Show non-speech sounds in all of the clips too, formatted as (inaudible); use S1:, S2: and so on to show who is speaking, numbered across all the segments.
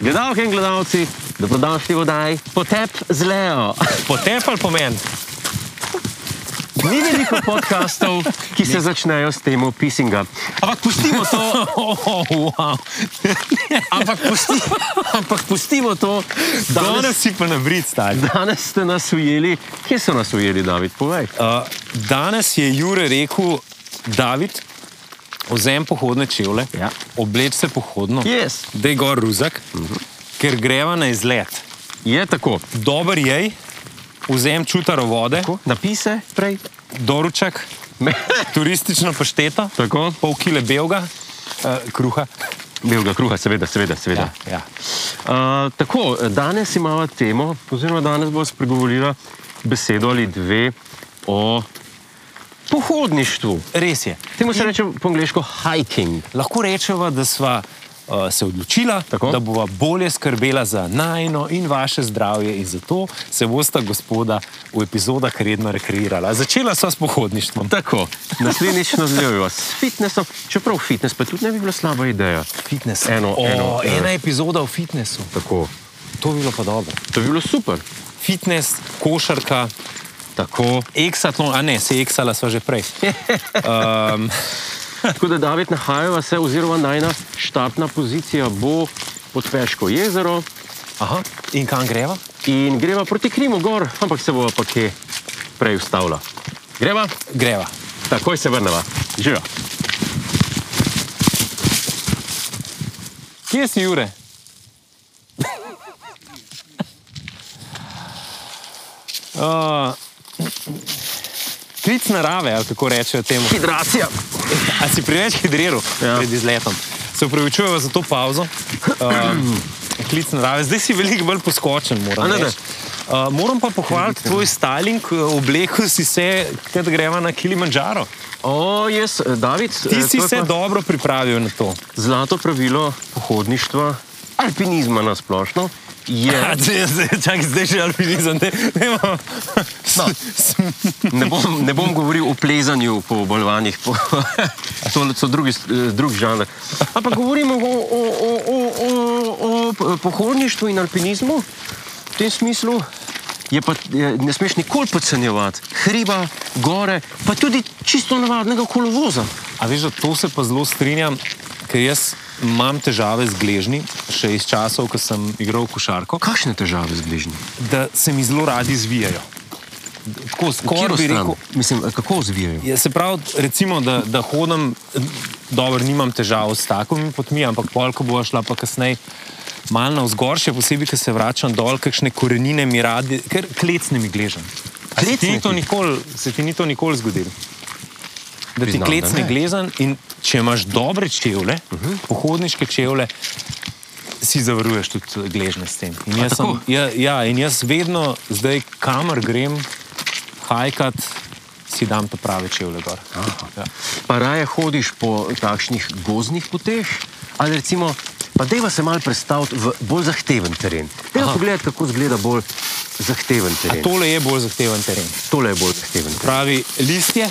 S1: Gledalke in gledalci, dobrodošli v oddaji Potep z Leo.
S2: Potep ali pomen?
S1: Ni veliko podkastov, ki se začnejo s temo pisinga.
S2: Ampak pustimo (laughs) to. oh, wow.
S1: Ampak, pusti, ampak pustimo to, da
S2: Danes
S1: danes,
S2: si pa na brit stari.
S1: danes ste nas ujeli. Kje so nas ujeli, David? Povej.
S2: Uh, danes je Jure rekel, David, vzem pohodne čevlje,
S1: Ja.
S2: obleč se pohodno,
S1: Yes.
S2: da je gor ruzak, uh -huh. ker greva na izlet.
S1: Je tako.
S2: Dober jej, vzem čutaro vode,
S1: tako. Napise prej.
S2: doruček,
S1: Me-
S2: turistično pašteto,
S1: Tako.
S2: pol kile belga, uh, kruha.
S1: Belega kruha, seveda, seveda. seveda.
S2: Ja,
S1: Ja.
S2: ja.
S1: Uh, tako, danes imamo temo, oziroma danes bo spregovorila besedo ali dve o pohodništvu.
S2: Res je.
S1: Temu se reče po angliško hiking.
S2: lahko rečemo, da sva uh, se odločila,
S1: Tako.
S2: da bova bolje skrbela za najno in vaše zdravje, in zato se bosta gospoda v epizodah redno rekreirala. Začela sva s pohodništvom.
S1: Tako, naslednjič nadaljujemo s fitnessom, čeprav fitness pa tudi ne bi bila slaba ideja.
S2: Fitness.
S1: Eno,
S2: o,
S1: eno, eno.
S2: ena epizoda o fitnessu,
S1: Tako.
S2: to bi bilo pa dobro.
S1: To bi bilo super.
S2: Fitness, košarka,
S1: Tako.
S2: eksatlon, a ne, se eksala sva že prej. Um,
S1: Tako da David nahajava se, oziroma najna štartna pozicija bo pod Peško jezero
S2: aha, in kam greva?
S1: in greva proti Krimu gor, ampak se bova pa kje prej ustavila. Greva,
S2: Greva.
S1: takoj se vrneva. Živa.
S2: Kje si, Jure? (laughs) Uh, klic narave, ali kako rečejo temu. (laughs)
S1: Hidracija.
S2: Ali si preveč hidriral
S1: Ja.
S2: ja. pred izletom? Se upravičujem za to pauzo. Uh, (clears throat) klic narave, zdaj si veliko bolj poskočen. Moram,
S1: A ne, ne.
S2: reči. Uh, moram pa pohvaliti tvoj styling, uh, oblekel si se, kad greva na Kilimanjaro.
S1: O, jaz, eh, David, eh,
S2: Ti si
S1: to je
S2: se
S1: pa
S2: dobro pripravil na to.
S1: zlato pravilo pohodništva, alpinizma na splošno. Je,
S2: (laughs) Ja, zdaj, zdaj, čak, zdaj že alpinizem, ne, ne imam. No.
S1: Ne bom, ne bom govoril o plezanju po obalovanjih, po, (laughs) to so drugi, s- eh, drug žanr. Ampak govorimo o, o, o, o, o, o pohodništvu in alpinizmu. V tem smislu je pa, je, ne smeš nikoli podcenjevati hriba, gore, pa tudi čisto navadnega kolovoza.
S2: A veš, da to se pa zelo strinjam, ker jaz imam težave z gležnji, še iz časov, ko sem igral košarko,
S1: Kakšne težave z bližnjim?
S2: da se mi zelo radi zvijajo. Tako skoraj bi rekel.
S1: Mislim, eh, kako zvijajo?
S2: Ja, se pravi, recimo, da, da hodim, dobro, nimam težav s takimi potmi, ampak pol, ko bo šla pa kasneje malo na vzgor, še posebej, ko se vračam dol, kakšne korenine mi radi, ker klecne mi gležen. A Se ti,
S1: Klecne
S2: ni to
S1: ti?
S2: nikoli, se ti ni to nikoli zgodilo? Da ti
S1: Priznam, da
S2: klecne
S1: ne.
S2: glezen in če imaš dobre čevlje, uh -huh. pohodniške čevlje, si zavaruješ tudi gležne s tem. In jaz, sem,
S1: tako?
S2: ja, ja, in jaz vedno, zdaj, kamor grem, hajkat, si dam ta pravi čevlje gor. Ja.
S1: Pa raje hodiš po takšnih gozdnih poteh, ali recimo, pa deva se malo predstaviti v bolj zahteven teren. Deva
S2: Aha.
S1: pogledati, kako izgleda bolj zahteven teren. To...
S2: Tole je bolj zahteven teren.
S1: Tole je bolj zahteven teren.
S2: Pravi listje,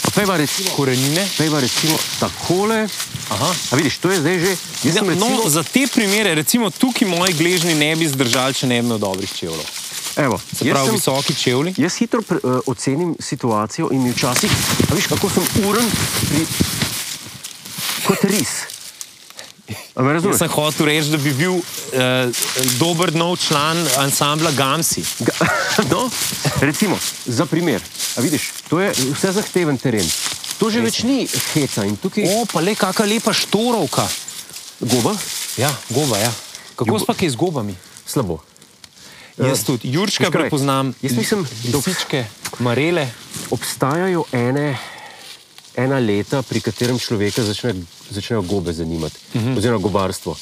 S1: Pa pejva recimo,
S2: korenine.
S1: pejva recimo takole.
S2: Aha.
S1: A vidiš, to je zdaj že. Jaz sem recimo,
S2: No,
S1: no,
S2: za te primere, recimo tukaj moji gležni ne bi zdržali, če ne bi imel dobrih čevljev.
S1: evo,
S2: Se
S1: jaz,
S2: pravi,
S1: sem,
S2: visoki čevlji.
S1: jaz hitro pre, uh, ocenim situacijo in mi včasih, a viš, kako sem uren pri, kot ris. A me
S2: Jaz
S1: razumeš?
S2: sem hotel reči, da bi bil eh, dober nov član ansambla Gamsi.
S1: Ga, (laughs) no, recimo, za primer, a vidiš, to je vse zahteven teren. To že več ni heca in tukaj
S2: O, pa le kakšna lepa štorovka.
S1: goba,
S2: Ja, goba, ja. Kako
S1: Ljubo-
S2: smo kaj z gobami?
S1: slabo.
S2: Jaz tudi, Jurčka
S1: veš kaj?
S2: prepoznam,
S1: Jaz mislim, da-
S2: lisičke, marele. (laughs)
S1: Obstajajo ene, ena leta, pri katerem človeka začne, začnejo gobe zanimati, mhm. oziroma gobarstvo,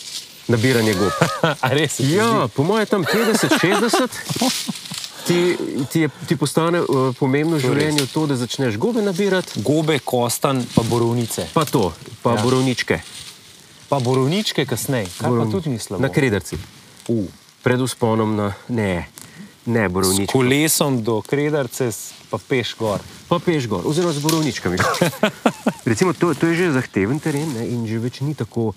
S1: nabiranje gob.
S2: A res?
S1: (laughs) Ja, po mojem, tam 50, 60. Ti, ti, je, ti postane uh, pomembno v življenju to, da začneš gobe nabirati,
S2: Gobe, kostan, pa borovnice.
S1: pa to, pa ja.
S2: Ja.
S1: borovničke.
S2: Pa borovničke kasneje, kar pa
S1: Borovni-
S2: tudi ni slabo.
S1: Na krederci.
S2: U.
S1: pred usponom na ne. Ne,
S2: S
S1: borovnička.
S2: kolesom do kredarce, s- pa peš gor.
S1: Pa peš gor, oziroma z borovničkami. Recimo, to, to je že zahteven teren ne, in že več ni tako,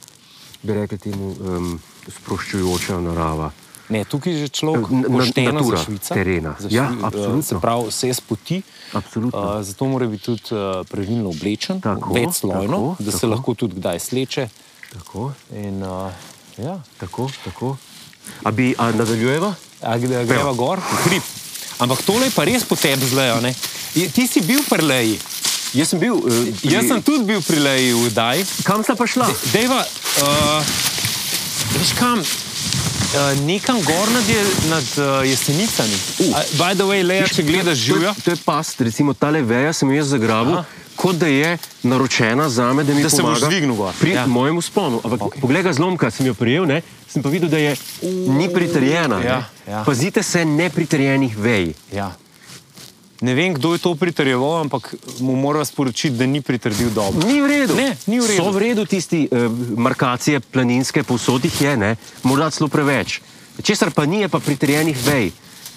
S1: bi rekli, temu, um, sproščujoča narava.
S2: Ne, tukaj je že človek
S1: Na- na-
S2: pošteno
S1: natura
S2: za Švica.
S1: terena.
S2: Za
S1: Ja,
S2: Švi- eh,
S1: absolutno.
S2: Se pravi, vse je spoti.
S1: Absolutno.
S2: Eh, zato mora biti tudi eh, pravilno oblečen,
S1: Tako,
S2: večslojno,
S1: tako,
S2: da se
S1: tako.
S2: lahko tudi kdaj sleče.
S1: Tako,
S2: In, uh, ja.
S1: tako, tako. A bi a nadaljujeva?
S2: A gre- greva gor, v hrib. Ampak tole je pa res po tebi zlejo. ne? Je- Ti si bil pri leji.
S1: Jaz sem bil. Uh,
S2: Jaz sem tudi bil pri leji v Daji.
S1: Kam sta pa šla?
S2: Dejva, uh, veš kam, uh, nekam gor nad, je, nad uh, jesenicami. Uh. By the way, Leja, če gledaš živjo,
S1: To, je- to je past, recimo ta leveja sem jo jaz zagrabil, Aha. kot da je naročena za me, da mi
S2: Da se boš
S1: pomaga
S2: dvignil gor.
S1: Pri ja.
S2: Ja.
S1: mojem usponu. Ampak okay. poglej ga zlomka, sem jo prijel, ne? sem pa videl, da je ni pritrjena. ne.
S2: Ja, ja.
S1: Pazite se nepritrjenih vej.
S2: ja. ne vem, kdo je to pritrjeval, ampak mu mora sporočiti, da ni pritrdil dobro.
S1: Ni v redu.
S2: Ne, ni v redu.
S1: So v redu tisti eh, markacije planinske, povsod jih je, ne? morda celo preveč. Česar pa ni, je pa pritrjenih vej.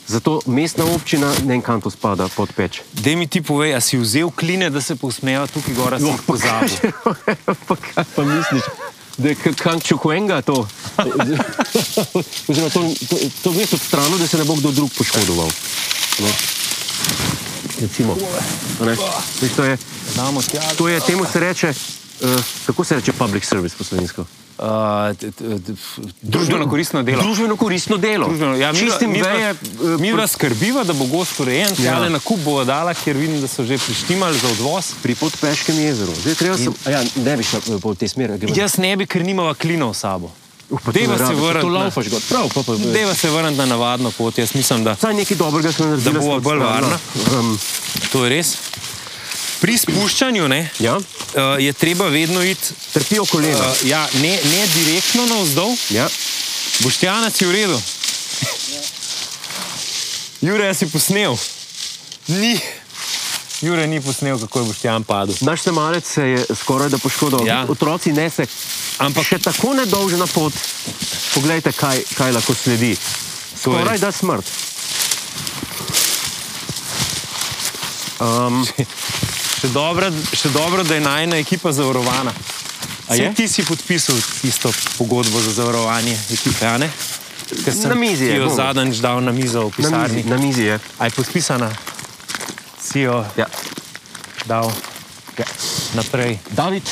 S1: Zato mestna občina ne vem, kam to spada pod peč.
S2: Dej mi ti povej, a si vzel kline, da se posmejava tukaj gor, a si jih pozabil.
S1: pa kaj pa misliš? Da je kančukuenga to. Oziroma, to, to, to veš od stranu, da se ne bo kdo drug poškodoval. No. Recimo. a ne. Veš, to, je,
S2: Damo tja.
S1: to je, temu se reče, uh, kako se reče public service po slovensko?
S2: Uh, t- t- t- f- družbeno koristno delo.
S1: Družbeno koristno delo.
S2: Družbeno, ja, midva-
S1: Čistim
S2: midva-
S1: veje, eh,
S2: midva skrbiva, da bo gost urejen, ja.
S1: Ja.
S2: ale na kup bo dala, ker vidim, da so že prištimali za odvoz.
S1: pri podpeškem jezeru. Zdaj, treba Ja, sem, a ja, ne bi šel po tej smeri. gremo-
S2: Jaz ne bi, ker nimava klinov s sabo.
S1: Uh, pa to
S2: Dejva
S1: ne
S2: se
S1: rabiš, pa To
S2: vrniti na-
S1: laufaš, gor. prav, pa pa.
S2: Deva se vrniti na navadno pot, jaz mislim, da
S1: Saj nekaj dobrega smo naredili.
S2: Da bova bolj varna.
S1: Um,
S2: to je res. Pri spuščanju ne,
S1: ja,
S2: uh, je treba vedno iti
S1: trpijo kolena.
S2: uh, ja, ne, ne direktno navzdol.
S1: Ja.
S2: Boštjana si v redu. Jure, si posnel? Ni. Jure ni posnel, kako je Boštjan padel.
S1: Naš temalec se je skoraj da poškodoval.
S2: Ja.
S1: Otroci nese,
S2: Ampak-
S1: ampak še tako nedolžna pot. Poglejte, kaj, kaj lahko sledi.
S2: je
S1: Skoraj
S2: res.
S1: da smrt. Um,
S2: Še dobro, še dobro, da je najna ekipa zavarovana.
S1: A
S2: Saj
S1: je?
S2: ti si podpisal tisto pogodbo za zavarovanje ekipe, a ne? Ker sem
S1: Na mizi
S2: ti
S1: je,
S2: jo
S1: bom.
S2: zadnjič dal na mizo v
S1: na, mizi,
S2: pisarni.
S1: na mizi je.
S2: A je podpisana? Si jo
S1: Ja.
S2: dal
S1: Ja.
S2: naprej.
S1: David,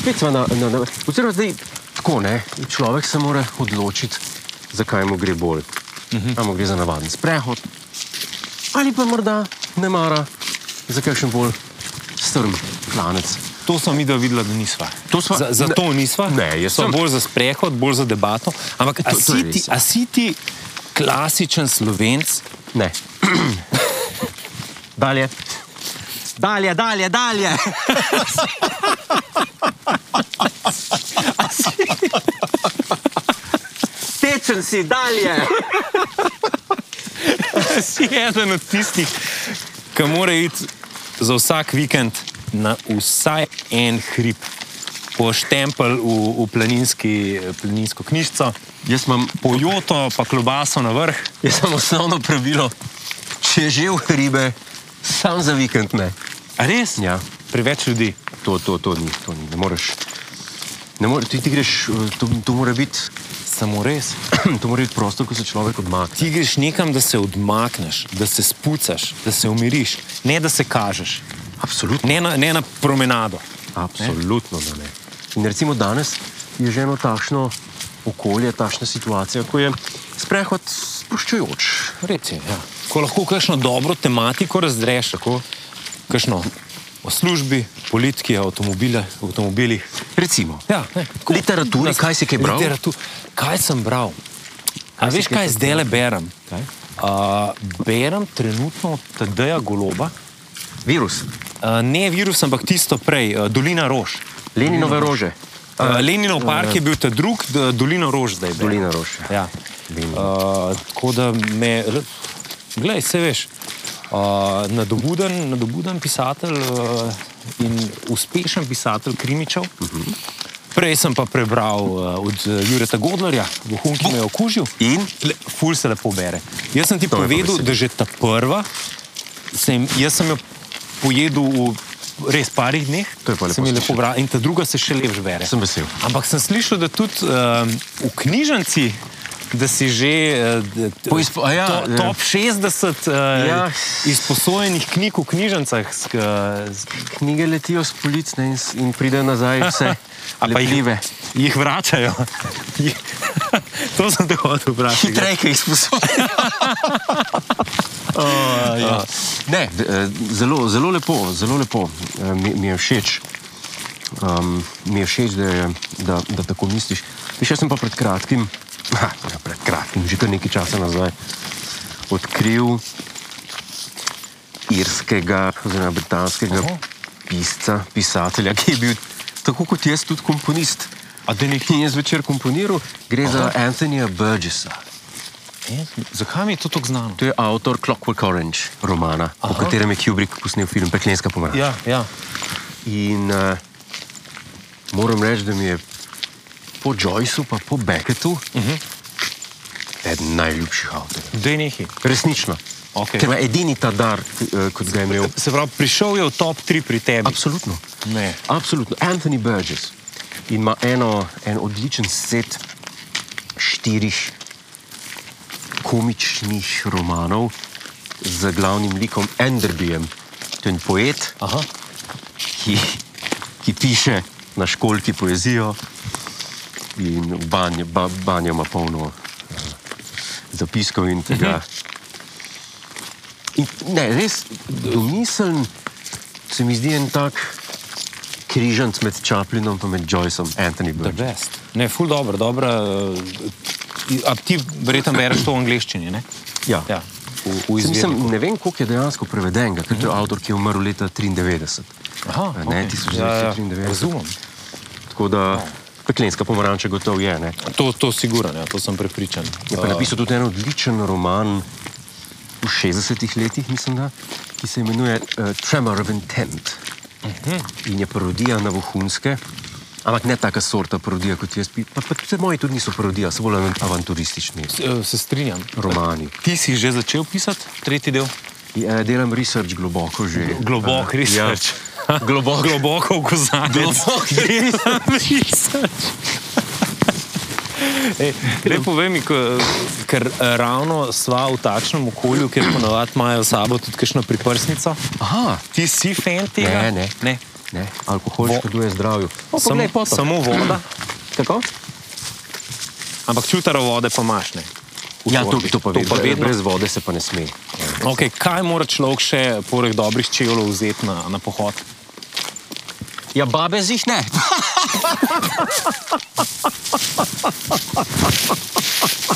S1: spet smo na, na, na oziroma zdaj tako, ne? človek se mora odločiti, zakaj mu gre bolj. Uh
S2: Mhm.
S1: -huh. Ali mu gre za navaden sprehod, ali pa morda ne mara za kakšen bolj strm klanec.
S2: To sem videl, videla, da nisva.
S1: To sva-
S2: za, zato ne, nisva.
S1: Ne, jaz
S2: Sva
S1: sem-
S2: bolj za sprehod, bolj za debato. Ampak a
S1: To- to
S2: si,
S1: je res,
S2: ti,
S1: ja.
S2: a si ti klasičen slovenc?
S1: Ne. Dalje. Dalje, dalje, dalje. Tečen si dalje.
S2: (laughs) si eden od tistih, ki mora iti za vsak vikend na vsaj en hrib. Po štempelj v, v planinski, planinsko knjižico,
S1: Jaz imam,
S2: po joto, pa klobaso na vrh.
S1: jaz imam osnovno pravilo, če že v hribe, sam za vikend ne.
S2: A res?
S1: Ja,
S2: Preveč ljudi.
S1: to, to, to ni, to ni, ne moreš. Ne more, ti, ti greš, eh, to, to mora biti (clears throat)
S2: Samo res.
S1: to mora biti prostor, ko se človek odmakne.
S2: Ti greš nekam, da se odmakneš, da se spucaš, da se umiriš, ne da se kažeš,
S1: Absolutno.
S2: ne na, ne na promenado.
S1: Absolutno da ne. In recimo danes je že eno takšno okolje, takšna situacija, ko je sprehod sproščujoč.
S2: Reci, ja. Ko lahko kakšno dobro tematiko razdreš, tako kakšno o službi, politiki, avtomobile- avtomobilih.
S1: Recimo,
S2: Ja, ne, tako.
S1: Literaturi, kaj si kaj bral?
S2: Literatur. Kaj sem bral? A veš, kaj zdaj le berem?
S1: Kaj?
S2: Uh, berem trenutno Tadeja Goloba,
S1: virus,
S2: uh, ne virus, ampak tisto prej, uh, Dolina Rož.
S1: Leninove rože.
S2: Uh, Leninov park je bil ta drug, d- Dolina Rož zdaj. berem.
S1: Dolina rože.
S2: Ja. Uh, tako da me, gledaj, se veš, uh, nadobuden, eh,
S1: Mhm.
S2: nadobuden pisatelj uh, in uspešen pisatelj Krimičev. Uh -huh. Prej sem pa prebral uh, od uh, Jureta Godlerja, Vohunki me je okužil.
S1: In?
S2: Le, ful se lepo bere. Jaz sem ti
S1: To me pa
S2: povedal,
S1: veseli.
S2: da že ta prva, sem, jaz sem jo pojedel v res parih dneh,
S1: To je pa lepo
S2: sem jo lepo
S1: slišati.
S2: bral, in ta druga se še lepš bere.
S1: Sem vesel.
S2: Ampak sem slišal, da tudi um, v knjižnici, da si že eh, d- t-
S1: Poizp- a ja,
S2: to,
S1: ja.
S2: top 60 uh, ja.
S1: Ja.
S2: izposojenih knjig v knjižnicah. sk- eh, s-
S1: Knjige letijo z polic ne, in, s- in pride nazaj (laughs) vse
S2: A pa jih,
S1: lepljive.
S2: jih vračajo. Jih- to sem te hotel vprašati.
S1: Hitreje, ki jih sposodijo.
S2: Uh, ja.
S1: Ne, d- eh, zelo, zelo lepo, zelo lepo. Eh, Mi, mi je všeč. Um, mi je všeč, da, je, da, da tako misliš. Še sem pa pred kratkim, (laughs) ha, ne pred kratkim, že kar nekaj časa nazaj, odkril irskega, oziroma britanskega
S2: Oho.
S1: pisca, pisatelja, ki je bil tako kot jaz tudi komponist.
S2: A da nekaj.
S1: In je zvečer komponiral, gre Aha. za Anthonyja Burgessa.
S2: E, Zakaj mi je to tako znano?
S1: To je avtor Clockwork Orange romana, Aha. po
S2: Aha.
S1: katerem je Kubrick posnel film Peklenska pomlad.
S2: Ja, ja.
S1: In uh, moram reči, da mi je po Joyceu, pa po Beckettu, uh -huh. eden najljubših avtorjev.
S2: Dej nekaj.
S1: Resnično.
S2: Okej.
S1: Ker ima edini ta dar, ki, eh, kot ga je imel.
S2: Se pravi, prišel je v top 3 pri tebi.
S1: Absolutno.
S2: Ne.
S1: Absolutno. Anthony Burgess In ima eno, en odličen set štirih komičnih romanov z glavnim likom Enderbyjem. To je en poet,
S2: Aha.
S1: ki, ki piše na školki poezijo in banja, ba, banja ima polno uh, zapiskov in tega. In, ne, res, domiseln se mi zdi en tak križanc med Chaplinom in med Joyceom, Anthony
S2: The
S1: Burgess.
S2: best. Ne, ful dobro, dobro. A ti verjetno bereš to v angleščini, ne?
S1: Ja.
S2: Ja. V, v
S1: Saj Mislim,
S2: izvedniku.
S1: ne vem, koliko je dejansko prevedenega, ker to je avtor, ki je umrl leta 1993.
S2: Aha,
S1: ne,
S2: okej. Ja,
S1: 1993.
S2: Razumem.
S1: Tako da peklenska pomaranča gotovo je. Ne?
S2: To, to sigurno, ja, to sem prepričan. Eh,
S1: Je pa napisal tudi en odličen roman v 60-ih letih, mislim, da, ki se imenuje uh, Tremor of Intent.
S2: Mhm.
S1: In je parodija na vohunske, ampak ne taka sorta parodija kot jaz. pi- Pa, pa te moji tudi niso parodija, so bolj avan- avanturistični
S2: Eh, Se strinjam.
S1: romani.
S2: Ti si že začel pisati tretji del?
S1: In, uh, delam research globoko že.
S2: Globok, res.
S1: ja. (laughs)
S2: Globok. Globoko v kozarec.
S1: Globok
S2: (laughs) Ej, Zdaj povej mi, ko- ker eh, ravno sva v takšnem okolju, kjer ponavadi imajo s sabo tudi kakšno priprsnico.
S1: Aha,
S2: Ti si fan tega?
S1: Ne, ne.
S2: ne. No,
S1: ne, alkohol
S2: Vo-
S1: škoduje zdravju. O,
S2: Samo,
S1: poglej, potok.
S2: samo voda,
S1: Kako?
S2: ampak čutaro vode pa imaš. Ne? V
S1: Ja, to,
S2: torbi.
S1: to pa,
S2: to pa vedno.
S1: Brez vode se pa ne sme.
S2: Okay, kaj mora človek še poleg dobrih čevljev vzeti na, na pohod?
S1: Ja, babe z jih ne. (laughs)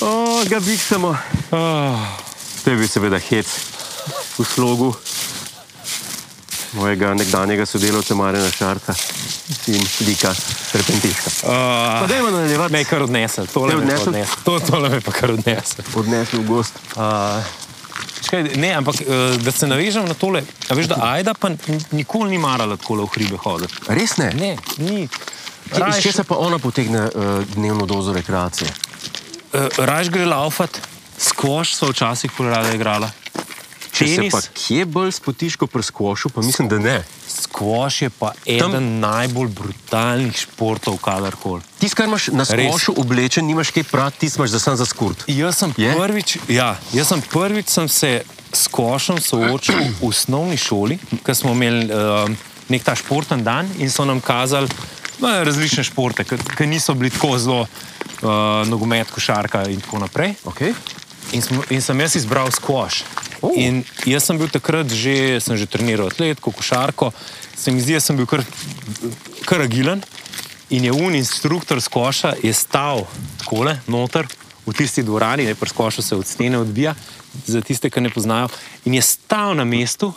S1: o, ga biksamo.
S2: Oh,
S1: To je bil seveda hec v slogu mojega nekdanjega sodelavca Marina Šarca in Dika Serpentiška.
S2: uh,
S1: Dajmo nadaljevati.
S2: me je kar odnesel, tole
S1: Te
S2: me je
S1: odnesel?
S2: odnesel. To, tole me je pa kar odnesel.
S1: Odnesli v gost.
S2: Uh, Škaj, ne, ampak eh, da se navežem na tole. A veš, da Aida pa n- nikoli ni marala tako v hribe hoditi.
S1: Res ne?
S2: Ne, ni.
S1: Kje- Iz
S2: Rajš,
S1: česa pa ona potegne uh, dnevno dozo rekreacije?
S2: eh, rajš gre laufat, skoš so včasih polarada igrala.
S1: Če se
S2: Tenis,
S1: pa kje bolj spotiš kot pri skošu, pa mislim, da ne.
S2: skoš je pa eden Tam... najbolj brutalnih športov, kadarkoli.
S1: Tisti, kar imaš na
S2: Res.
S1: skošu oblečen, nimaš kaj prati, tisti imaš za sam za skurt.
S2: Jaz sem
S1: Je?
S2: prvič, ja, jaz sem prvič sem se s košem soočil v osnovni šoli, ker smo imeli um, nek ta športen dan in so nam kazali no, različne športe, ki niso bili tako zelo uh, nogomet, košarka in tako naprej.
S1: Okay.
S2: In, smo, in sem jaz izbral skoš.
S1: Oh.
S2: In jaz sem bil takrat že, sem že treniral atletiko, košarko, se mi zdi, da sem bil kar, kar agilen. In je un instruktor skoša je stal takole, noter v tisti dvorani, ne pri skošu se od stene odbija, za tiste, ki ne poznajo. In je stal na mestu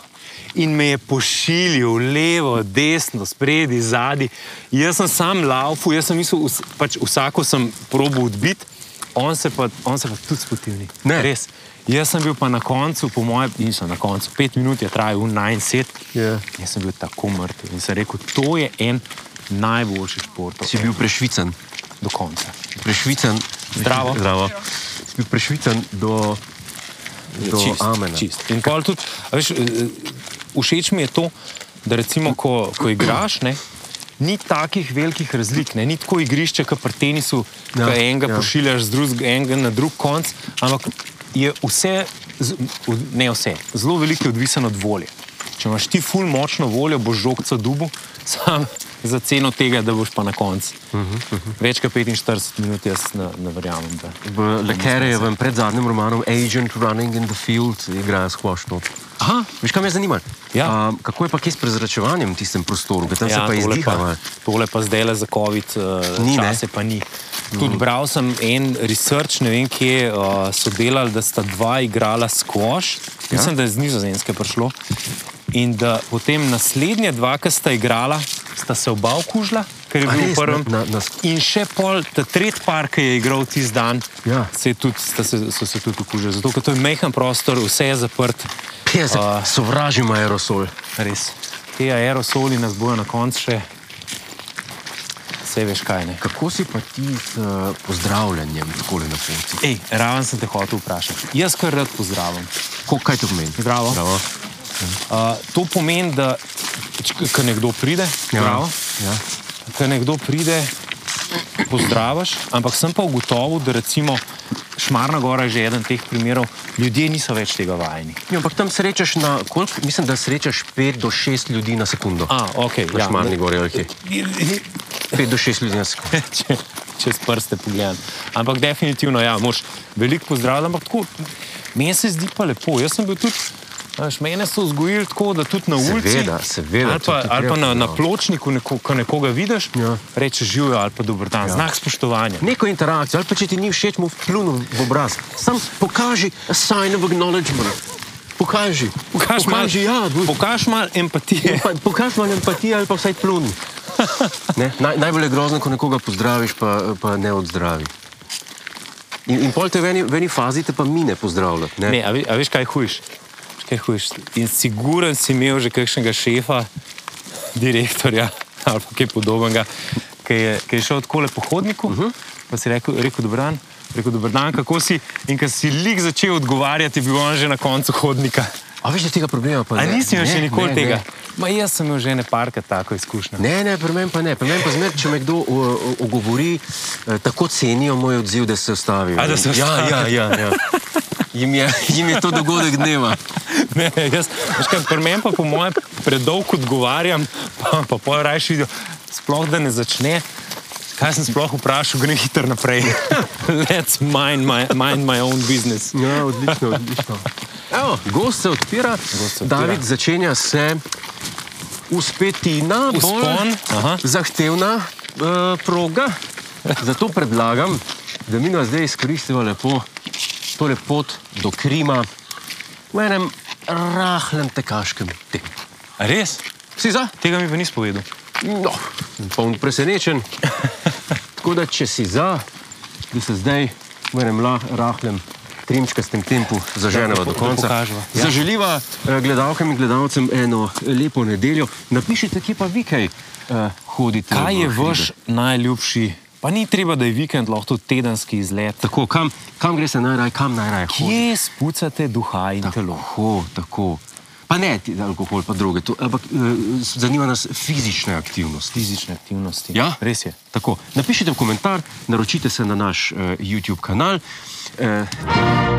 S2: in me je pošiljal levo, desno, spredi, zadaj. Jaz sem sam laufal, jaz sem mislil, vs- pač vsako sem probo odbiti. On se pa, on se pa tudi spotivni.
S1: Ne.
S2: Res. Jaz sem bil pa na koncu, po mojem, nisem na koncu, pet minut je trajal najmanj set.
S1: Ja.
S2: Jaz sem bil tako mrtev in sem rekel, to je en najboljših športov eh,
S1: Si bil prešvican.
S2: do konca.
S1: Prešvican.
S2: Zdravo.
S1: Zdravo. Si bil prešvican do, do
S2: čist,
S1: amena.
S2: Čist. In pol tudi, a veš, eh, všeč mi je to, da recimo, ko, ko igraš, ne, ni takih velikih razlik. Ne, ni tako igrišče, kot pri tenisu, ja,
S1: Ja,
S2: ki enega ja.
S1: ja.
S2: pošiljaš z drugega enega na drug konc, ampak je vse, z- od- ne vse, zelo veliko je odvisno od volje. Če imaš ti ful močno voljo, boš žogca dubu, (laughs) sam za ceno tega, da boš pa na koncu. Uh
S1: Mhm,
S2: -huh, uh -huh. Več kot 45 minut jaz ne, ne verjamem. Da.
S1: V Lekerjevem predzadnjem romanu Agent Running in the Field igrajo skvošno.
S2: Aha,
S1: Veš, kaj me zanima?
S2: Ja.
S1: Um, kako je pa kaj s prezračevanjem v tistem prostoru, ki tam ja, se pa
S2: tole
S1: izdiha?
S2: pa,
S1: malo?
S2: tole pa zdaj le za COVID,
S1: Ni,
S2: uh,
S1: ne?
S2: čase pa ni. Tudi bral sem en research, ne vem kje uh, so delali, da sta dva igrala skoš, ja? mislim, da je z Nizozemske prišlo. In da potem naslednja dva, ki sta igrala, sta se oba okužila, ker je
S1: A
S2: bil v
S1: res,
S2: prvem.
S1: na- na- na sk-
S2: In še pol, ta tretji par, ki je igral tisti dan,
S1: Ja.
S2: se je tudi, sta se, so se tudi okužili. Zato, ker to je mehen prostor, vse je zaprt.
S1: Kje se
S2: A.
S1: sovražimo aerosol?
S2: Res. Te aerosoli nas bojo na koncu še, vse veš kaj ne.
S1: Kako si pa ti s uh, pozdravljanjem tako na koncu?
S2: Ej, raven sem te hotel vprašati. Jaz kar rad pozdravim.
S1: Ko, kaj to pomeni?
S2: Zdravo.
S1: Zdravo.
S2: Uh, to pomeni, da ko nekdo pride, ja.
S1: Ja.
S2: ko nekdo pride, pozdraviš, ampak sem pa ugotovil, da recimo Šmarna gora je že eden teh primerov, ljudje niso več tega vajeni.
S1: Ja, ampak tam srečaš na koliko? Mislim, da srečaš 5 do 6 ljudi na sekundo.
S2: A, ja. ok,
S1: Na šmarni gori, ali kje?
S2: gori.
S1: 5 do 6 ljudi na sekundo.
S2: (laughs) če, čez prste pogledam. Ampak definitivno, ja, moš veliko pozdravljam, ampak tako, meni se zdi pa lepo. Jaz sem bil tudi, veš, mene so vzgojili tako, da tudi na ulici,
S1: Seveda, seveda,
S2: ali pa,
S1: to ti
S2: ali pa
S1: treba,
S2: na, na
S1: ja.
S2: pločniku, neko, ko nekoga vidiš, ja.
S1: Ja.
S2: rečeš živijo ali pa dober dan, ja. znak spoštovanja.
S1: Neko interakcijo, ali pa če ti ni všeč, mu pljuni v obraz. Sam pokaži a sign of acknowledgement. Pokaži.
S2: Pokaž malo
S1: pokaži, ja, dvoj-
S2: pokaž mal empatije.
S1: Pa- Pokaž malo empatije ali pa vsaj pljuni. Ne, Naj, najbolj je grozno, ko nekoga pozdraviš, pa, pa ne odzdravi. In, in pol te v eni, v eni fazi te pa mi ne pozdravljati. Ne?
S2: Ne, a, ve, a veš, kaj hujš? Veš, Kaj hujš? In siguren si imel že kakšnega šefa, direktorja (laughs) ali pa kaj podobnega, ki je, ki je šel tako po hodniku, uh
S1: Mhm.
S2: -huh. pa si rekel, rekel dobro dan. Rekel, dobro dan, kako si. In ko si lik začel odgovarjati, je bil on že na koncu hodnika.
S1: A veš, da tega problema pa
S2: A
S1: ne.
S2: nisi imel
S1: ne,
S2: še nikoli
S1: ne,
S2: tega?
S1: Ne.
S2: Ma jaz sem imel že ne parka tako izkušnjo.
S1: Ne, ne, pri meni pa ne. Pri meni pa zmeraj, če me kdo o- o- ogovori, eh, tako cenijo moj odziv, da se ostavijo.
S2: A, da se
S1: ja, ja,
S2: ustavijo.
S1: ja, ja. Jim, je, jim je to dogodek dneva.
S2: Ne, jaz, veš kaj, pri meni pa po mojem predolgo odgovarjam, pa, pa pol rajši vidijo, sploh da ne začne. Kaj sem sploh vprašal, gre hitro naprej. (laughs) Let's mind my, mind my own business.
S1: Ja, odlično, odlično. (laughs) Evo, gost se odpira, gost se
S2: odpira.
S1: David začenja se uspetina, bolj
S2: Vzpon, aha.
S1: zahtevna uh, proga. Zato predlagam, da mi nas zdaj izkoristimo lepo, torej pot do Krima v enem rahlem tekaškem tempu.
S2: A Res?
S1: Si za?
S2: Tega mi pa nisi povedal.
S1: No, poln presenečen. Tako da, če si za, da se zdaj v enem la- rahlem, trimčkastem tempu zaženeva
S2: Da,
S1: do
S2: da po-
S1: konca.
S2: da pokaževa. Ja.
S1: Zaželiva eh, gledalkam in gledalcem eno lepo nedeljo. Napišite, kje pa vi kaj eh, hodite.
S2: Kaj je
S1: v hribe.
S2: vaš najljubši, pa ni treba, da je vikend, lahko tudi tedenski izlet.
S1: Tako, kam, kam greš najraje, kam najraje hodiš?
S2: Kje spucate duha in telo?
S1: Tako, tako. Pa ne ti alkohol, pa druge, to, ampak eh, zanima nas fizična aktivnost.
S2: Fizične aktivnosti.
S1: Ja?
S2: Res je.
S1: eh, Tako, napišite v komentar, naročite se na naš uh, YouTube kanal. Uh,